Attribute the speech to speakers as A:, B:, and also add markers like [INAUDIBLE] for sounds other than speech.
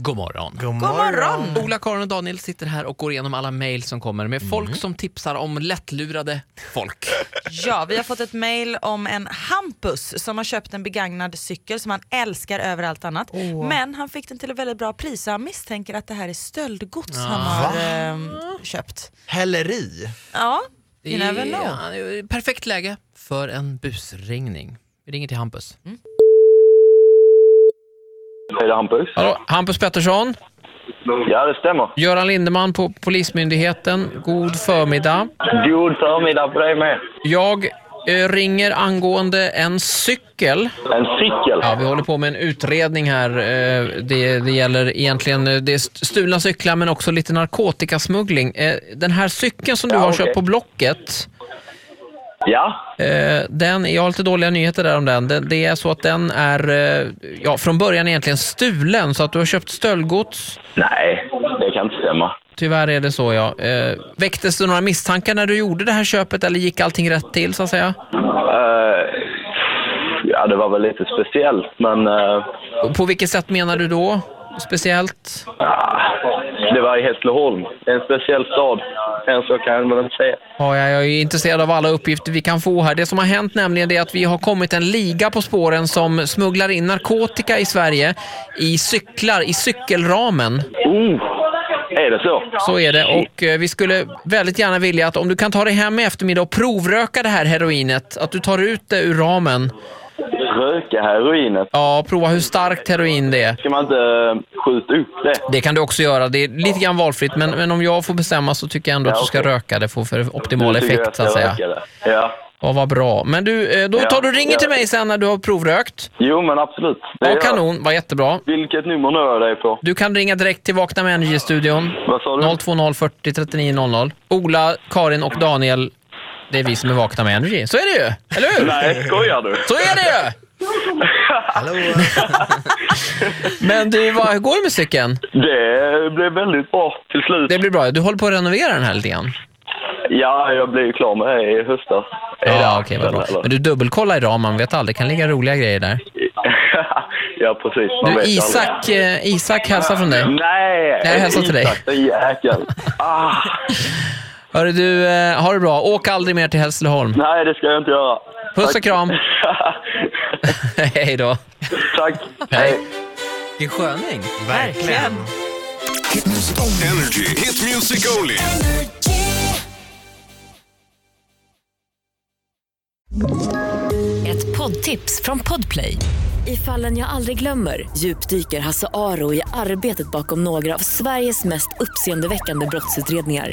A: God morgon!
B: God
C: morgon.
A: Ola, Karin och Daniel sitter här och går igenom alla mejl som kommer med folk som tipsar om lättlurade [LAUGHS] folk.
C: Ja, vi har fått ett mail om en Hampus som har köpt en begagnad cykel som han älskar över allt annat. Men han fick den till ett väldigt bra pris så han misstänker att det här är stöldgods han har ehm, köpt.
B: Häleri.
C: Ja, you never know.
A: Ja, det är perfekt läge för en busringning. Vi ringer till Hampus.
D: Hej, det är Hampus.
A: Hallå, Hampus Pettersson,
D: Ja, det stämmer.
A: Göran Lindeman på Polismyndigheten. God förmiddag.
D: God förmiddag på dig med.
A: Jag eh, ringer angående en cykel.
D: En cykel?
A: Ja, vi håller på med en utredning här. Eh, Det, det gäller egentligen eh, det är st- stulna cyklar men också lite narkotikasmuggling. Eh, Den här cykeln som du
D: Ja,
A: har
D: okej.
A: köpt på Blocket,
D: Ja.
A: eh, den, jag har lite dåliga nyheter där om den. Det, det är så att den är eh, ja, från början egentligen stulen, så att du har köpt stöldgods.
D: Nej, det kan inte stämma.
A: Tyvärr är det så, ja. Eh, Väcktes det några misstankar när du gjorde det här köpet eller gick allting rätt till, så att säga?
D: Eh, ja, det var väl lite speciellt, men eh,
A: Och På vilket sätt menar du då? Speciellt?
D: ah, det var i Hässleholm. En speciell stad. Än så kan jag väl inte säga.
A: Ja, jag jag är intresserad av alla uppgifter vi kan få här. Det som har hänt nämligen det är att vi har kommit en liga på spåren som smugglar in narkotika i Sverige i cyklar, i cykelramen.
D: Oh, är det så?
A: Så är det. Och eh, vi skulle väldigt gärna vilja att om du kan ta dig hem i eftermiddag och provröka det här heroinet, att du tar ut det ur ramen.
D: Röka heroinet.
A: Ja, prova hur starkt heroin det är.
D: Ska man inte eh, skjuta upp det?
A: Det kan du också göra. Det är lite grann valfritt, men, men om jag får bestämma så tycker jag ändå att du ska röka det för, för optimal
D: Nu tycker jag
A: effekt, så att
D: ska
A: säga.
D: röka det. Ja.
A: Ja, vad bra. Men du, eh, då
D: Ja,
A: tar du och ringer
D: ja.
A: till mig sen när du har provrökt.
D: Jo, men absolut. Det
A: Ja,
D: gör jag.
A: kanon. Vad jättebra.
D: Vilket nummer nu är det på?
A: Du kan ringa direkt till Vakna med Energy-studion.
D: Vad sa du?
A: 020 40 39 00. Ola, Karin och Daniel, det är vi som är Vakna med Energy. Så är det ju! Eller hur? [LAUGHS]
D: Nej, skojar du?
A: Så är det ju!
D: [LAUGHS]
B: Hallå.
A: Men du, vad, hur går det med cykeln?
D: Det blev väldigt bra till slut.
A: Det blir bra. Du håller på att renovera den här lite grann.
D: Ja, jag blev ju klar med det i höstas.
A: Ja, okej, vad bra. Men
D: Eller-
A: du dubbelkollar idag, man vet aldrig. Det kan ligga roliga grejer där.
D: [LAUGHS] ja, precis. Man
A: Du,
D: vet Mm. ju
A: Isak, eh, Isak hälsar från dig.
D: aldrig. Nej!
A: Jag hälsar till dig.
D: Isak, den jäkeln. Ah,
A: Hörru du, eh, ha det bra. Åk aldrig mer till Hässleholm.
D: nej, det ska jag inte göra.
A: Puss och
D: Tack.
A: kram.
D: Mm.
A: [LAUGHS] Hej då.
D: [LAUGHS] Tack.
A: Hej. Vilken sköning.
C: Verkligen.
E: Energy. Hit music only.
F: Ett poddtips från Podplay. I fallen jag aldrig glömmer djupdyker Hasse Aro i arbetet bakom några av Sveriges mest uppseendeväckande brottsutredningar.